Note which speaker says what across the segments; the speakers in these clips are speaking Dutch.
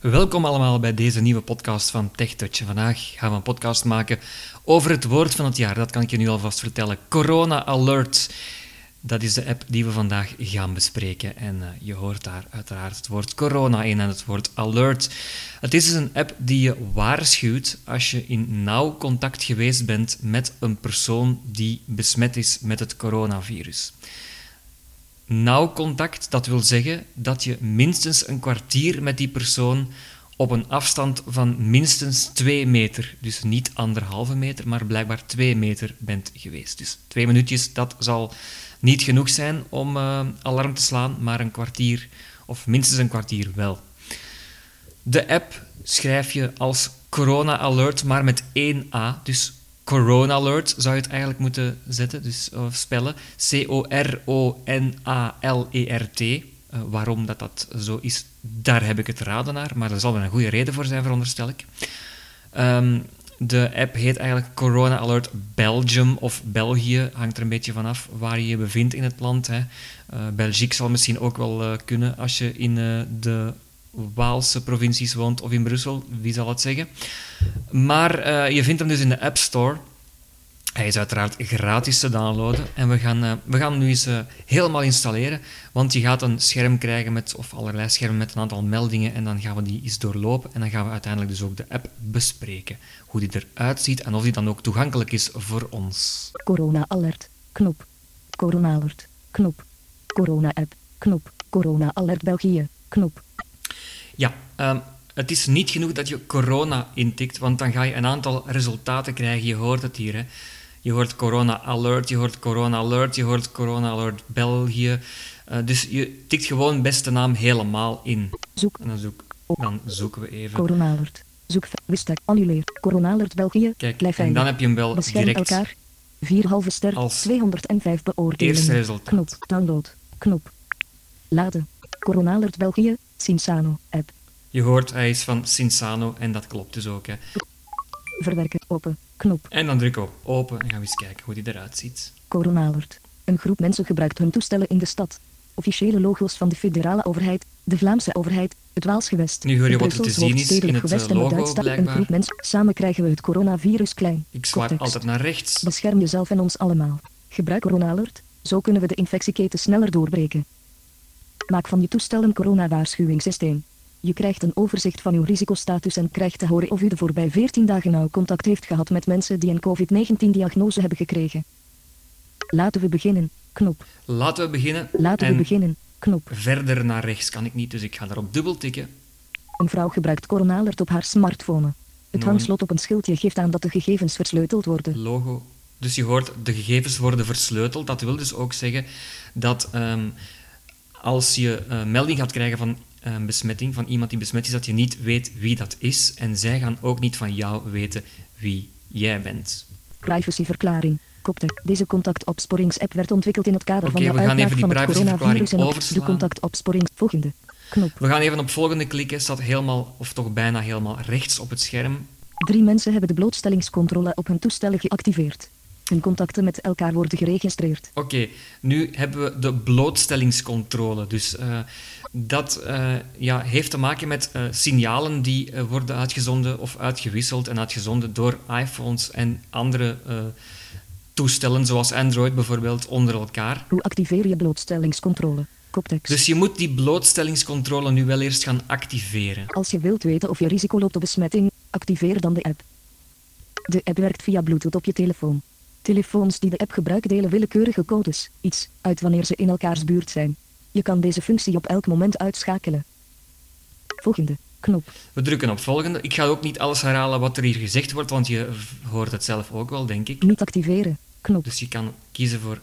Speaker 1: Welkom allemaal bij deze nieuwe podcast van TechTouch. Vandaag gaan we een podcast maken over het woord van het jaar. Dat kan ik je nu alvast vertellen. Corona Alert. Dat is de app die we vandaag gaan bespreken. En eh, je hoort daar uiteraard het woord corona in en het woord alert. Het is dus een app die je waarschuwt als je in nauw contact geweest bent met een persoon die besmet is met het coronavirus. Nauw contact, dat wil zeggen dat je minstens een kwartier met die persoon op een afstand van minstens 2 meter, dus niet anderhalve meter, maar blijkbaar 2 meter bent geweest. Dus twee minuutjes, dat zal niet genoeg zijn om eh, alarm te slaan, maar een kwartier of minstens een kwartier wel. De app schrijf je als Corona Alert, maar met één A. Dus Corona Alert zou je het eigenlijk moeten zetten, dus eh, spellen. C-O-R-O-N-A-L-E-R-T. Eh, waarom dat dat zo is, daar heb ik het raden naar, maar er zal wel een goede reden voor zijn, veronderstel ik. Ehm, de app heet eigenlijk Corona Alert Belgium of België. Hangt er een beetje vanaf waar je je bevindt in het land. Hè. Eh, België zal misschien ook wel eh, kunnen als je in eh, de Waalse provincies woont of in Brussel. Wie zal het zeggen? Maar eh, je vindt hem dus in de App Store. Hij is uiteraard gratis te downloaden. En we gaan, eh, we gaan hem nu eens eh, helemaal installeren. Want je gaat een scherm krijgen met, of allerlei schermen met een aantal meldingen. En dan gaan we die eens doorlopen. En dan gaan we uiteindelijk dus ook de app bespreken. Hoe die eruit ziet en of die dan ook toegankelijk is voor ons.
Speaker 2: Corona alert. Knop. Corona alert. Knop. Corona app. Knop. Corona alert België. Knop.
Speaker 1: Ja, ehm, het is niet genoeg dat je corona intikt, want dan ga je een aantal resultaten krijgen. Je hoort het hier, hè. Je hoort corona alert, je hoort corona alert, je hoort corona alert België. Eh, dus je tikt gewoon best de naam helemaal in.
Speaker 2: Zoek.
Speaker 1: En dan, zoek, dan zoeken we even.
Speaker 2: Corona alert. Zoek. Wista. Annuleer. Corona alert België.
Speaker 1: Kijk,
Speaker 2: Blijf
Speaker 1: en dan
Speaker 2: veilig.
Speaker 1: heb je hem wel
Speaker 2: Bescherm
Speaker 1: direct.
Speaker 2: elkaar. 4 halve ster.
Speaker 1: Als
Speaker 2: 205 beoordelen.
Speaker 1: eerste resultaat.
Speaker 2: Knop. Download. Knop. Laden. Corona alert België. Sinsano. App.
Speaker 1: Je hoort, hij is van Sinsano en dat klopt dus ook. Hè.
Speaker 2: Verwerken. Open. Knop.
Speaker 1: En dan druk ik op open en gaan we eens kijken hoe die eruit ziet.
Speaker 2: Corona alert. Een groep mensen gebruikt hun toestellen in de stad. Officiële logo's van de federale overheid, de Vlaamse overheid, het Waals gewest.
Speaker 1: Nu hoor je wat er te
Speaker 2: Brussels
Speaker 1: zien is in
Speaker 2: hoofdstedelijk
Speaker 1: het,
Speaker 2: gewest
Speaker 1: eh,
Speaker 2: en
Speaker 1: logo,
Speaker 2: Duitsland. Een
Speaker 1: blijkbaar.
Speaker 2: groep mensen. Samen krijgen we het coronavirus klein.
Speaker 1: Ik swipe
Speaker 2: Context.
Speaker 1: altijd naar rechts.
Speaker 2: Bescherm jezelf en ons allemaal. Gebruik corona alert, zo kunnen we de infectieketen sneller doorbreken. Maak van je toestel een coronawaarschuwingssysteem. Je krijgt een overzicht van uw risicostatus en krijgt te horen of u de voorbij 14 dagen nauw contact heeft gehad met mensen die een COVID-19-diagnose hebben gekregen. Laten we beginnen. Knop.
Speaker 1: Laten we beginnen.
Speaker 2: Laten
Speaker 1: en
Speaker 2: we beginnen. Knop.
Speaker 1: Verder naar rechts kan ik niet, dus ik ga daarop dubbel tikken.
Speaker 2: Een vrouw gebruikt corona alert op haar smartphone. Het
Speaker 1: Noem.
Speaker 2: hangslot op een schildje geeft aan dat de gegevens versleuteld worden.
Speaker 1: logo. Dus je hoort, de gegevens worden versleuteld. Dat wil dus ook zeggen dat ehm, als je eh, melding gaat krijgen van ehm, besmetting, van iemand die besmet is, dat je niet weet wie dat is. En zij gaan ook niet van jou weten wie jij bent.
Speaker 2: Privacyverklaring. Kopte. Deze contactopsporingsapp werd ontwikkeld in het kader
Speaker 1: Oké,
Speaker 2: van de
Speaker 1: we gaan
Speaker 2: uitbraak
Speaker 1: even die
Speaker 2: van het
Speaker 1: privacyverklaring
Speaker 2: coronavirus en op de
Speaker 1: overslaan.
Speaker 2: contactopsporing. Volgende. Knop.
Speaker 1: We gaan even op volgende klikken. Het staat helemaal, of toch bijna helemaal rechts op het scherm.
Speaker 2: Drie mensen hebben de blootstellingscontrole op hun toestellen geactiveerd. Hun contacten met elkaar worden geregistreerd.
Speaker 1: Oké, nu hebben we de blootstellingscontrole. Dus eh, dat eh, ja, heeft te maken met eh, signalen die eh, worden uitgezonden of uitgewisseld en uitgezonden door iPhones en andere eh, toestellen, zoals Android bijvoorbeeld, onder elkaar.
Speaker 2: Hoe activeer je blootstellingscontrole? Koptekst.
Speaker 1: Dus je moet die blootstellingscontrole nu wel eerst gaan activeren.
Speaker 2: Als je wilt weten of je risico loopt op besmetting, activeer dan de app. De app werkt via Bluetooth op je telefoon. Telefoons die de app gebruiken delen willekeurige codes, iets uit wanneer ze in elkaars buurt zijn. Je kan deze functie op elk moment uitschakelen. Volgende knop.
Speaker 1: We drukken op volgende. Ik ga ook niet alles herhalen wat er hier gezegd wordt, want je v- hoort het zelf ook wel, denk ik.
Speaker 2: Niet activeren. Knop.
Speaker 1: Dus je kan kiezen voor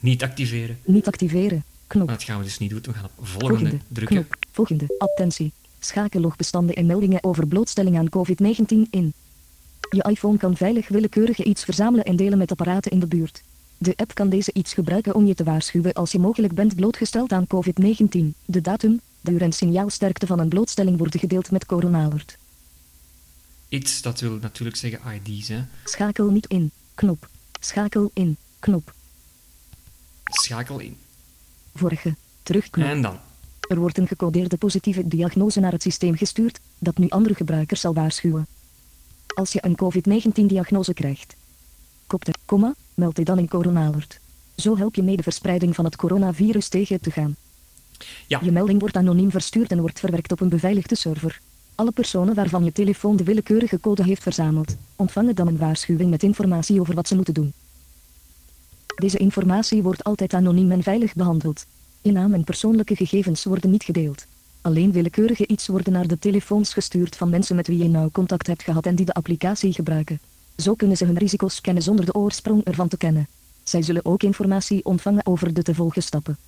Speaker 1: niet activeren.
Speaker 2: Niet activeren. Knop.
Speaker 1: Maar dat gaan we dus niet doen. We gaan op volgende
Speaker 2: Volgende
Speaker 1: drukken.
Speaker 2: knop. Volgende. Attentie. Schakel logbestanden en meldingen over blootstelling aan COVID-19 in. Je iPhone kan veilig willekeurige iets verzamelen en delen met apparaten in de buurt. De app kan deze iets gebruiken om je te waarschuwen als je mogelijk bent blootgesteld aan COVID-19. De datum, duur en signaalsterkte van een blootstelling worden gedeeld met coronaalert.
Speaker 1: Iets, dat wil natuurlijk zeggen ID's. Hè.
Speaker 2: Schakel niet in. Knop. Schakel in. Knop.
Speaker 1: Schakel in.
Speaker 2: Vorige. Terugknop.
Speaker 1: En dan.
Speaker 2: Er wordt een gecodeerde positieve diagnose naar het systeem gestuurd, dat nu andere gebruikers zal waarschuwen. Als je een COVID-19-diagnose krijgt, kopte, komma, meld je dan in CoronaAlert. Zo help je mee de verspreiding van het coronavirus tegen te gaan.
Speaker 1: Ja.
Speaker 2: Je melding wordt anoniem verstuurd en wordt verwerkt op een beveiligde server. Alle personen waarvan je telefoon de willekeurige code heeft verzameld, ontvangen dan een waarschuwing met informatie over wat ze moeten doen. Deze informatie wordt altijd anoniem en veilig behandeld. Je naam en persoonlijke gegevens worden niet gedeeld. Alleen willekeurige iets worden naar de telefoons gestuurd van mensen met wie je nauw contact hebt gehad en die de applicatie gebruiken. Zo kunnen ze hun risico's kennen zonder de oorsprong ervan te kennen. Zij zullen ook informatie ontvangen over de te volgen stappen.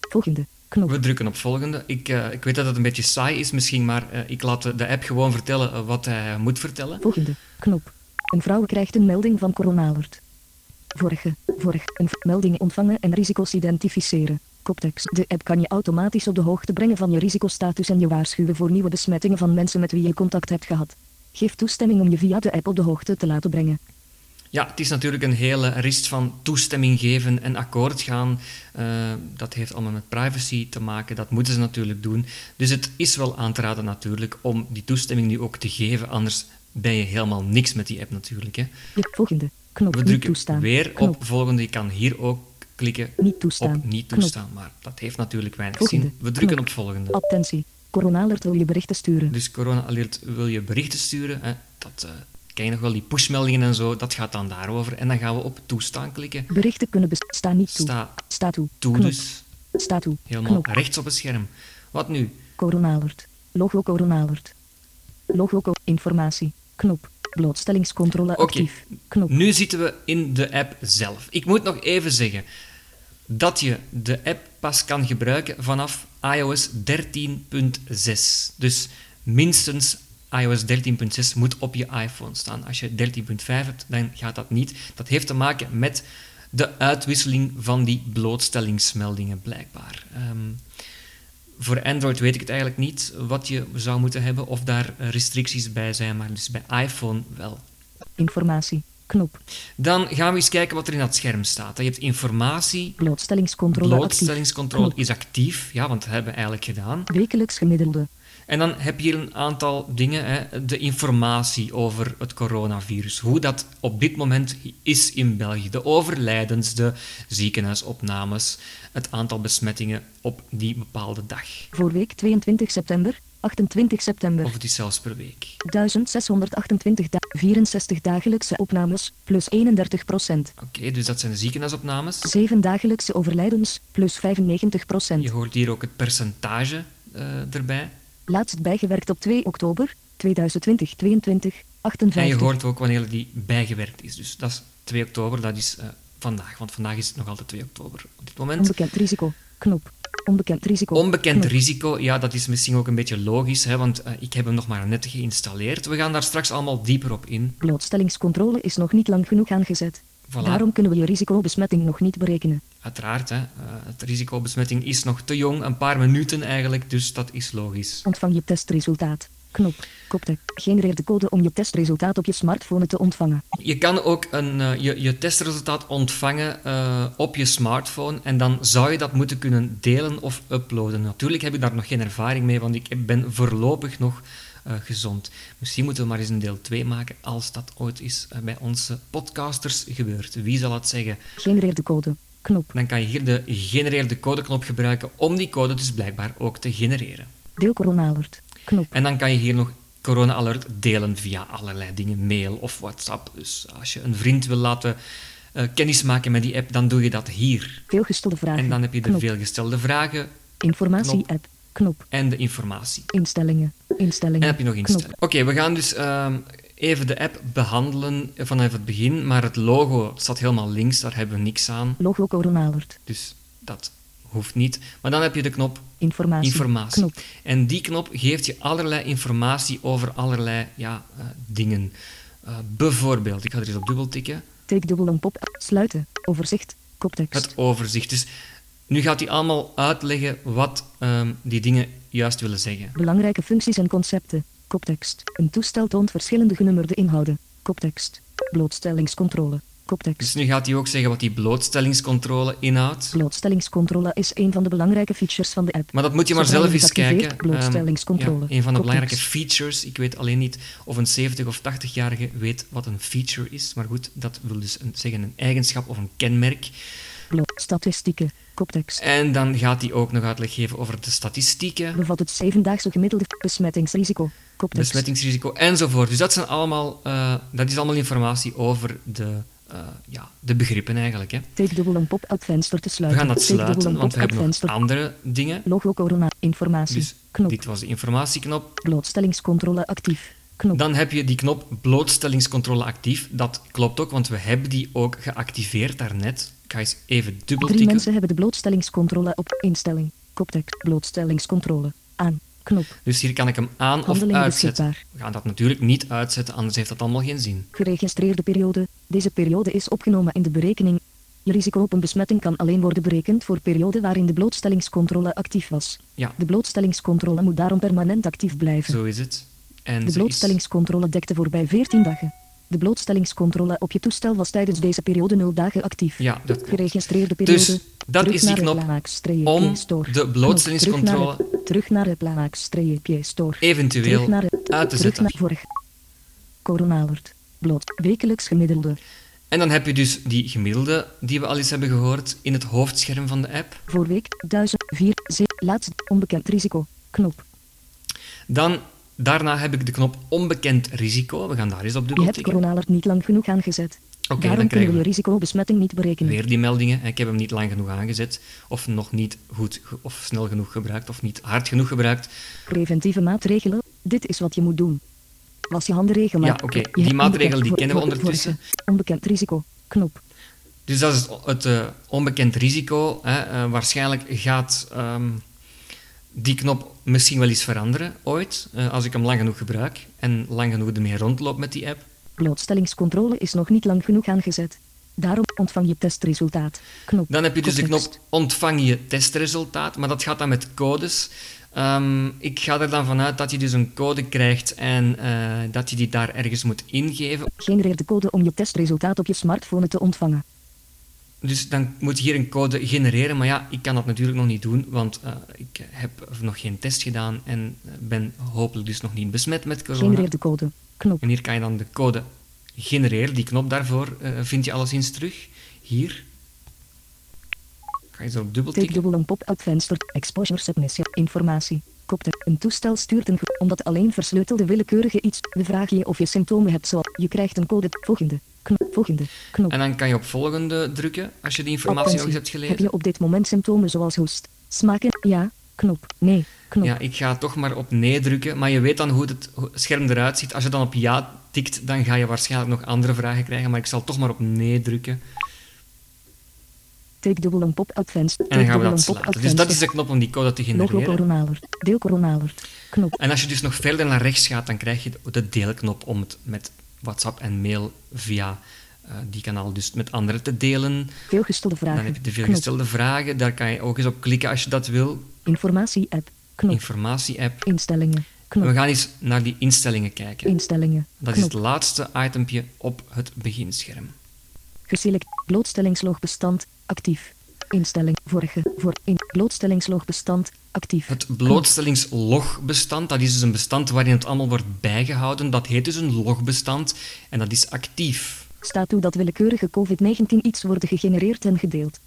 Speaker 2: Volgende. Knop.
Speaker 1: We drukken op volgende. Ik, eh, ik weet dat het een beetje saai is misschien, maar eh, ik laat de- de app gewoon vertellen eh, wat hij moet vertellen.
Speaker 2: Volgende. Knop. Een vrouw krijgt een melding van coronaalert. Vorige. Vorig. Een v- melding ontvangen en risico's identificeren. Koptekst. De app kan je automatisch op de hoogte brengen van je risicostatus en je waarschuwen voor nieuwe besmettingen van mensen met wie je contact hebt gehad. Geef toestemming om je via de app op de hoogte te laten brengen.
Speaker 1: Ja, het is natuurlijk een hele rist van toestemming geven en akkoord gaan. Eh, dat heeft allemaal met privacy te maken, dat moeten ze natuurlijk doen. Dus het is wel aan te raden natuurlijk om die toestemming nu ook te geven, anders ben je helemaal niks met die app natuurlijk. Hè.
Speaker 2: Je volgende. Knop.
Speaker 1: We
Speaker 2: niet
Speaker 1: drukken
Speaker 2: toestaan.
Speaker 1: weer
Speaker 2: Knop.
Speaker 1: op volgende, je kan hier ook klikken
Speaker 2: Niet toestaan.
Speaker 1: op niet
Speaker 2: Knop.
Speaker 1: toestaan, maar dat heeft natuurlijk weinig
Speaker 2: Volgende.
Speaker 1: zin. We drukken
Speaker 2: Knop.
Speaker 1: op volgende.
Speaker 2: Attentie. Coronaalert wil je berichten sturen.
Speaker 1: Dus Corona Alert wil je berichten sturen. Hè? Dat eh, ken je nog wel, die pushmeldingen en zo. Dat gaat dan daarover. En dan gaan we op toestaan klikken.
Speaker 2: Berichten kunnen bestaan niet toe.
Speaker 1: Sta
Speaker 2: Sta toe.
Speaker 1: toe
Speaker 2: Knop.
Speaker 1: dus.
Speaker 2: Sta toe.
Speaker 1: Helemaal
Speaker 2: Knop.
Speaker 1: rechts op het scherm. Wat nu?
Speaker 2: Coronalert. Logo Coronalert. Logo co- informatie. Knop. Blootstellingscontrole
Speaker 1: Oké.
Speaker 2: actief. Knop.
Speaker 1: Nu zitten we in de app zelf. Ik moet nog even zeggen dat je de app pas kan gebruiken vanaf iOS 13.6. Dus minstens iOS 13.6 moet op je iPhone staan. Als je 13.5 hebt, dan gaat dat niet. Dat heeft te maken met de uitwisseling van die blootstellingsmeldingen, blijkbaar. Ehm, voor Android weet ik het eigenlijk niet wat je zou moeten hebben of daar eh, restricties bij zijn, maar dus bij iPhone wel.
Speaker 2: Informatie. Knop.
Speaker 1: Dan gaan we eens kijken wat er in dat scherm staat. Je hebt informatie,
Speaker 2: Blootstellingscontrole actief.
Speaker 1: blootstellingscontrole
Speaker 2: Knop.
Speaker 1: is actief. Ja, want dat hebben we eigenlijk gedaan.
Speaker 2: Wekelijks gemiddelde.
Speaker 1: En dan heb je hier een aantal dingen. Hè. De informatie over het coronavirus. Hoe dat op dit moment is in België. De overlijdens, de ziekenhuisopnames, het aantal besmettingen op die bepaalde dag.
Speaker 2: Voor week 22 september, 28 september.
Speaker 1: Of het is zelfs per week.
Speaker 2: 1628 da- 64 dagelijkse opnames, plus 31 procent.
Speaker 1: Oké, dus dat zijn de ziekenhuisopnames.
Speaker 2: 7 dagelijkse overlijdens, plus 95 procent.
Speaker 1: Je hoort hier ook het percentage eh, erbij.
Speaker 2: Laatst bijgewerkt op 2 oktober 2020, 22, 58.
Speaker 1: En je hoort ook wanneer die bijgewerkt is. Dus dat is 2 oktober, dat is eh, vandaag. Want vandaag is het nog altijd 2 oktober op dit moment.
Speaker 2: Onbekend risico. Knop. Onbekend risico.
Speaker 1: Onbekend
Speaker 2: Knop.
Speaker 1: risico, ja, dat is misschien ook een beetje logisch, hè, want eh, ik heb hem nog maar net geïnstalleerd. We gaan daar straks allemaal dieper op in.
Speaker 2: Blootstellingscontrole is nog niet lang genoeg aangezet.
Speaker 1: Voilà.
Speaker 2: Daarom kunnen we je risicobesmetting nog niet berekenen.
Speaker 1: Uiteraard, hè, eh, het risico op besmetting is nog te jong, een paar minuten eigenlijk, dus dat is logisch.
Speaker 2: Ontvang je testresultaat. Knop. Koptek. Genereer de code om je testresultaat op je smartphone te ontvangen.
Speaker 1: Je kan ook een, eh, je, je testresultaat ontvangen eh, op je smartphone en dan zou je dat moeten kunnen delen of uploaden. Natuurlijk heb ik daar nog geen ervaring mee, want ik ben voorlopig nog eh, gezond. Misschien moeten we maar eens een deel 2 maken als dat ooit is eh, bij onze podcasters gebeurt. Wie zal dat zeggen?
Speaker 2: Genereer de code. Knop.
Speaker 1: Dan kan je hier de genereerde codeknop gebruiken om die code dus blijkbaar ook te genereren.
Speaker 2: Deel coronaalert. Knop.
Speaker 1: En dan kan je hier nog Corona Alert delen via allerlei dingen, mail of WhatsApp. Dus als je een vriend wil laten eh kennis maken met die app, dan doe je dat hier.
Speaker 2: Veelgestelde vragen.
Speaker 1: En dan heb je de
Speaker 2: Knop.
Speaker 1: veelgestelde vragen knop.
Speaker 2: Informatie-app. Knop.
Speaker 1: en de informatie.
Speaker 2: Instellingen. Instellingen.
Speaker 1: En heb je nog instellen.
Speaker 2: Knop.
Speaker 1: Oké, we gaan dus ehm, even de app behandelen eh, vanaf het begin. Maar het logo staat helemaal links, daar hebben we niks aan.
Speaker 2: Logo coronaalert.
Speaker 1: Dus dat hoeft niet. Maar dan heb je de knop
Speaker 2: Informatie.
Speaker 1: informatie.
Speaker 2: Knop.
Speaker 1: En die knop geeft je allerlei informatie over allerlei ja, eh, dingen. Eh, bijvoorbeeld, ik ga er eens op dubbel tikken,
Speaker 2: Take dubbel een pop. Sluiten. Overzicht. Koptekst.
Speaker 1: het overzicht. Dus nu gaat hij allemaal uitleggen wat ehm, die dingen juist willen zeggen.
Speaker 2: Belangrijke functies en concepten. Koptekst. Een toestel toont verschillende genummerde inhouden. Koptekst. Blootstellingscontrole. koptekst.
Speaker 1: Dus nu gaat hij ook zeggen wat die blootstellingscontrole inhoudt.
Speaker 2: Blootstellingscontrole is een van de belangrijke features van de app.
Speaker 1: Maar dat moet je maar
Speaker 2: Zodra
Speaker 1: zelf
Speaker 2: je
Speaker 1: eens
Speaker 2: het activeert,
Speaker 1: kijken.
Speaker 2: blootstellingscontrole.
Speaker 1: Ehm, ja, een van de
Speaker 2: Koptekst.
Speaker 1: belangrijke features. Ik weet alleen niet of een 70 of 80-jarige weet wat een feature is. Maar goed, dat wil dus een, zeggen een eigenschap of een kenmerk.
Speaker 2: Bloot- Statistieken. Koptekst.
Speaker 1: En dan gaat hij ook nog uitleg geven over de statistieken,
Speaker 2: Bevat het zevendaagse gemiddelde besmettingsrisico. Koptekst.
Speaker 1: besmettingsrisico enzovoort. Dus dat, zijn allemaal, eh, dat is allemaal informatie over de, eh, ja, de begrippen eigenlijk. Hè.
Speaker 2: Take dubbel een pop-up venster te
Speaker 1: We
Speaker 2: sluiten.
Speaker 1: gaan dat
Speaker 2: Take dubbel
Speaker 1: sluiten,
Speaker 2: een
Speaker 1: want we
Speaker 2: pop-up
Speaker 1: hebben nog
Speaker 2: venster.
Speaker 1: andere dingen.
Speaker 2: Logo corona. Informatie.
Speaker 1: Dus
Speaker 2: knop.
Speaker 1: dit was de informatieknop.
Speaker 2: Blootstellingscontrole actief. Knop.
Speaker 1: Dan heb je die knop blootstellingscontrole actief. Dat klopt ook, want we hebben die ook geactiveerd daarnet. Ik ga eens even
Speaker 2: Drie
Speaker 1: dubbeltikken.
Speaker 2: mensen hebben de blootstellingscontrole op instelling. Koptekst. Blootstellingscontrole. Aan. Knop.
Speaker 1: Dus hier kan ik hem aan of
Speaker 2: Handelingen
Speaker 1: uitzetten.
Speaker 2: beschikbaar.
Speaker 1: We gaan dat natuurlijk niet uitzetten, anders heeft dat allemaal geen zin.
Speaker 2: Geregistreerde periode. Deze periode is opgenomen in de berekening. Je risico op een besmetting kan alleen worden berekend voor perioden waarin de blootstellingscontrole actief was.
Speaker 1: Ja,
Speaker 2: De blootstellingscontrole moet daarom permanent actief blijven.
Speaker 1: zo is het. En
Speaker 2: De
Speaker 1: ze is-
Speaker 2: blootstellingscontrole dekte voorbij 14 dagen. De blootstellingscontrole op je toestel was tijdens deze periode 0 dagen actief.
Speaker 1: Ja, dat klopt.
Speaker 2: Geregistreerde periode.
Speaker 1: Dus dat
Speaker 2: terug
Speaker 1: is die
Speaker 2: naar
Speaker 1: knop
Speaker 2: reclameax-streepje
Speaker 1: om
Speaker 2: store.
Speaker 1: de blootstellingscontrole
Speaker 2: Knop, Terug naar reclamax-streepje store.
Speaker 1: eventueel
Speaker 2: Terug naar
Speaker 1: uit te
Speaker 2: terug
Speaker 1: zetten.
Speaker 2: naar vorig. Corona alert. Bloot. Wekelijks gemiddelde.
Speaker 1: En dan heb je dus die gemiddelde die we al eens hebben gehoord in het hoofdscherm van de app.
Speaker 2: Voor week 1004. Ze- Laatst onbekend risico. Knop.
Speaker 1: Dan, daarna heb ik de knop onbekend risico. We gaan daar eens op
Speaker 2: Je hebt
Speaker 1: dubbeltikken.
Speaker 2: corona alert niet lang genoeg aangezet.
Speaker 1: dan
Speaker 2: Daarom
Speaker 1: krijgen
Speaker 2: kunnen
Speaker 1: we-
Speaker 2: we je risicobesmetting niet berekenen.
Speaker 1: Weer die meldingen. Ik heb hem niet lang genoeg aangezet. Of nog niet goed ge- of snel genoeg gebruikt. Of niet hard genoeg gebruikt.
Speaker 2: Preventieve maatregelen, dit is wat je moet doen. Was je handen regelmatig.
Speaker 1: Ja, oké,
Speaker 2: Je
Speaker 1: die
Speaker 2: hebt
Speaker 1: maatregel
Speaker 2: onbekend
Speaker 1: die
Speaker 2: voor-
Speaker 1: kennen we
Speaker 2: voor- voor-
Speaker 1: ondertussen.
Speaker 2: Onbekend risico, knop.
Speaker 1: Dus dat is het, het, eh, onbekend risico. Hè. Eh, waarschijnlijk gaat ehm, die knop misschien wel eens veranderen ooit. eh, als ik hem lang genoeg gebruik. En lang genoeg ermee rondloop met die app.
Speaker 2: Blootstellingscontrole is nog niet lang genoeg aangezet. Daarom ontvang je testresultaat, knop.
Speaker 1: Dan heb je dus de
Speaker 2: Context.
Speaker 1: knop ontvang je testresultaat, maar dat gaat dan met codes. Ehm, ik ga er dan vanuit dat je dus een code krijgt en eh, dat je die daar ergens moet ingeven.
Speaker 2: Genereer de code om je testresultaat op je smartphone te ontvangen.
Speaker 1: Dus dan moet je hier een code genereren, maar ja, ik kan dat natuurlijk nog niet doen, want eh, ik heb nog geen test gedaan en eh, ben hopelijk dus nog niet besmet met corona.
Speaker 2: Genereer de code, knop.
Speaker 1: En hier kan je dan de code genereren, die knop daarvoor eh, vind je alleszins terug. Hier. Ga je zo op dubbel
Speaker 2: Take
Speaker 1: tikken.
Speaker 2: dubbel een pop-up venster, exposure submission, informatie. Kopte. Een toestel stuurt een ge- omdat alleen versleutelde willekeurige iets. We vragen je of je symptomen hebt zoals je krijgt een code. Volgende, knop, volgende, knop.
Speaker 1: En dan kan je op volgende drukken als je die informatie nog eens hebt
Speaker 2: Attentie.
Speaker 1: gelezen.
Speaker 2: Heb je op dit moment symptomen zoals hoest, smaken, ja, knop, nee, knop.
Speaker 1: Ja, ik ga toch maar op nee drukken, maar je weet dan hoe het hoe het scherm eruit ziet. Als je dan op ja tikt, dan ga je waarschijnlijk nog andere vragen krijgen, maar ik zal toch maar op nee drukken.
Speaker 2: Take dubbel een pop-up venster.
Speaker 1: En dan gaan we dat
Speaker 2: Take dubbel een
Speaker 1: sluiten.
Speaker 2: pop-up
Speaker 1: Dus dat is
Speaker 2: venster.
Speaker 1: de knop om die code te
Speaker 2: Logo
Speaker 1: genereren.
Speaker 2: coronalert, deel coronalert, knop.
Speaker 1: En als je dus nog verder naar rechts gaat, dan krijg je de- de deelknop om het met WhatsApp en mail via eh, die kanaal dus met anderen te delen.
Speaker 2: Veelgestelde vragen,
Speaker 1: Dan heb je de
Speaker 2: knop.
Speaker 1: veelgestelde vragen, daar kan je ook eens op klikken als je dat wil.
Speaker 2: Informatie-app, knop.
Speaker 1: Informatie-app.
Speaker 2: Instellingen,
Speaker 1: We
Speaker 2: knop.
Speaker 1: gaan eens naar die instellingen kijken.
Speaker 2: Instellingen,
Speaker 1: Dat is
Speaker 2: knop.
Speaker 1: het laatste itempje op het beginscherm.
Speaker 2: Geselecteerd blootstellingslogbestand, actief. Instelling, vorige, voor, in, blootstellingslogbestand, actief.
Speaker 1: Het blootstellingslogbestand, dat is dus een bestand waarin het allemaal wordt bijgehouden. Dat heet dus een logbestand en dat is actief.
Speaker 2: Staat toe dat willekeurige COVID-19 iets worden gegenereerd en gedeeld.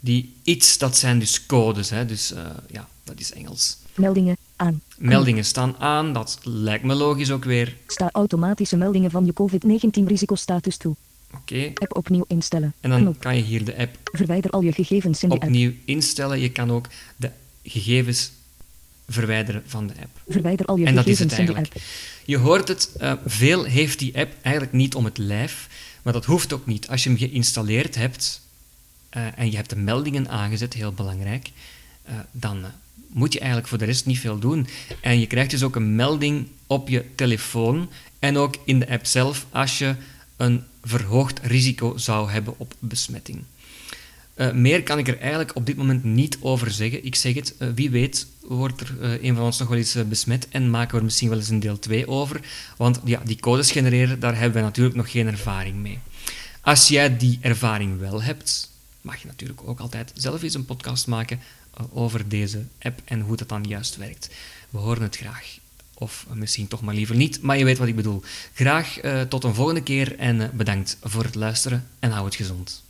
Speaker 1: Die iets, dat zijn dus codes, hè? dus eh, ja, dat is Engels.
Speaker 2: Meldingen, aan.
Speaker 1: Meldingen staan aan, dat lijkt me logisch ook weer.
Speaker 2: Sta automatische meldingen van je COVID-19 risicostatus toe.
Speaker 1: Oké,
Speaker 2: App opnieuw instellen.
Speaker 1: en dan
Speaker 2: Knop.
Speaker 1: kan je hier de app
Speaker 2: Verwijder al je gegevens in de app.
Speaker 1: opnieuw instellen. Je kan ook de gegevens verwijderen van de app.
Speaker 2: Verwijder al je
Speaker 1: En dat is het
Speaker 2: gegevens in de
Speaker 1: eigenlijk.
Speaker 2: app.
Speaker 1: Je hoort het, eh, veel heeft die app eigenlijk niet om het lijf, maar dat hoeft ook niet. Als je hem geïnstalleerd hebt eh, en je hebt de meldingen aangezet, heel belangrijk, eh, dan eh, moet je eigenlijk voor de rest niet veel doen. En je krijgt dus ook een melding op je telefoon en ook in de app zelf als je een verhoogd risico zou hebben op besmetting. Eh, meer kan ik er eigenlijk op dit moment niet over zeggen. Ik zeg het, eh, wie weet wordt er eh, een van ons nog wel eens eh, besmet en maken we er misschien wel eens een deel 2 over. Want ja, die codes genereren, daar hebben we natuurlijk nog geen ervaring mee. Als jij die ervaring wel hebt, mag je natuurlijk ook altijd zelf eens een podcast maken eh, over deze app en hoe dat dan juist werkt. We horen het graag. Of misschien toch maar liever niet, maar je weet wat ik bedoel. Graag eh, tot een volgende keer en eh, bedankt voor het luisteren en hou het gezond.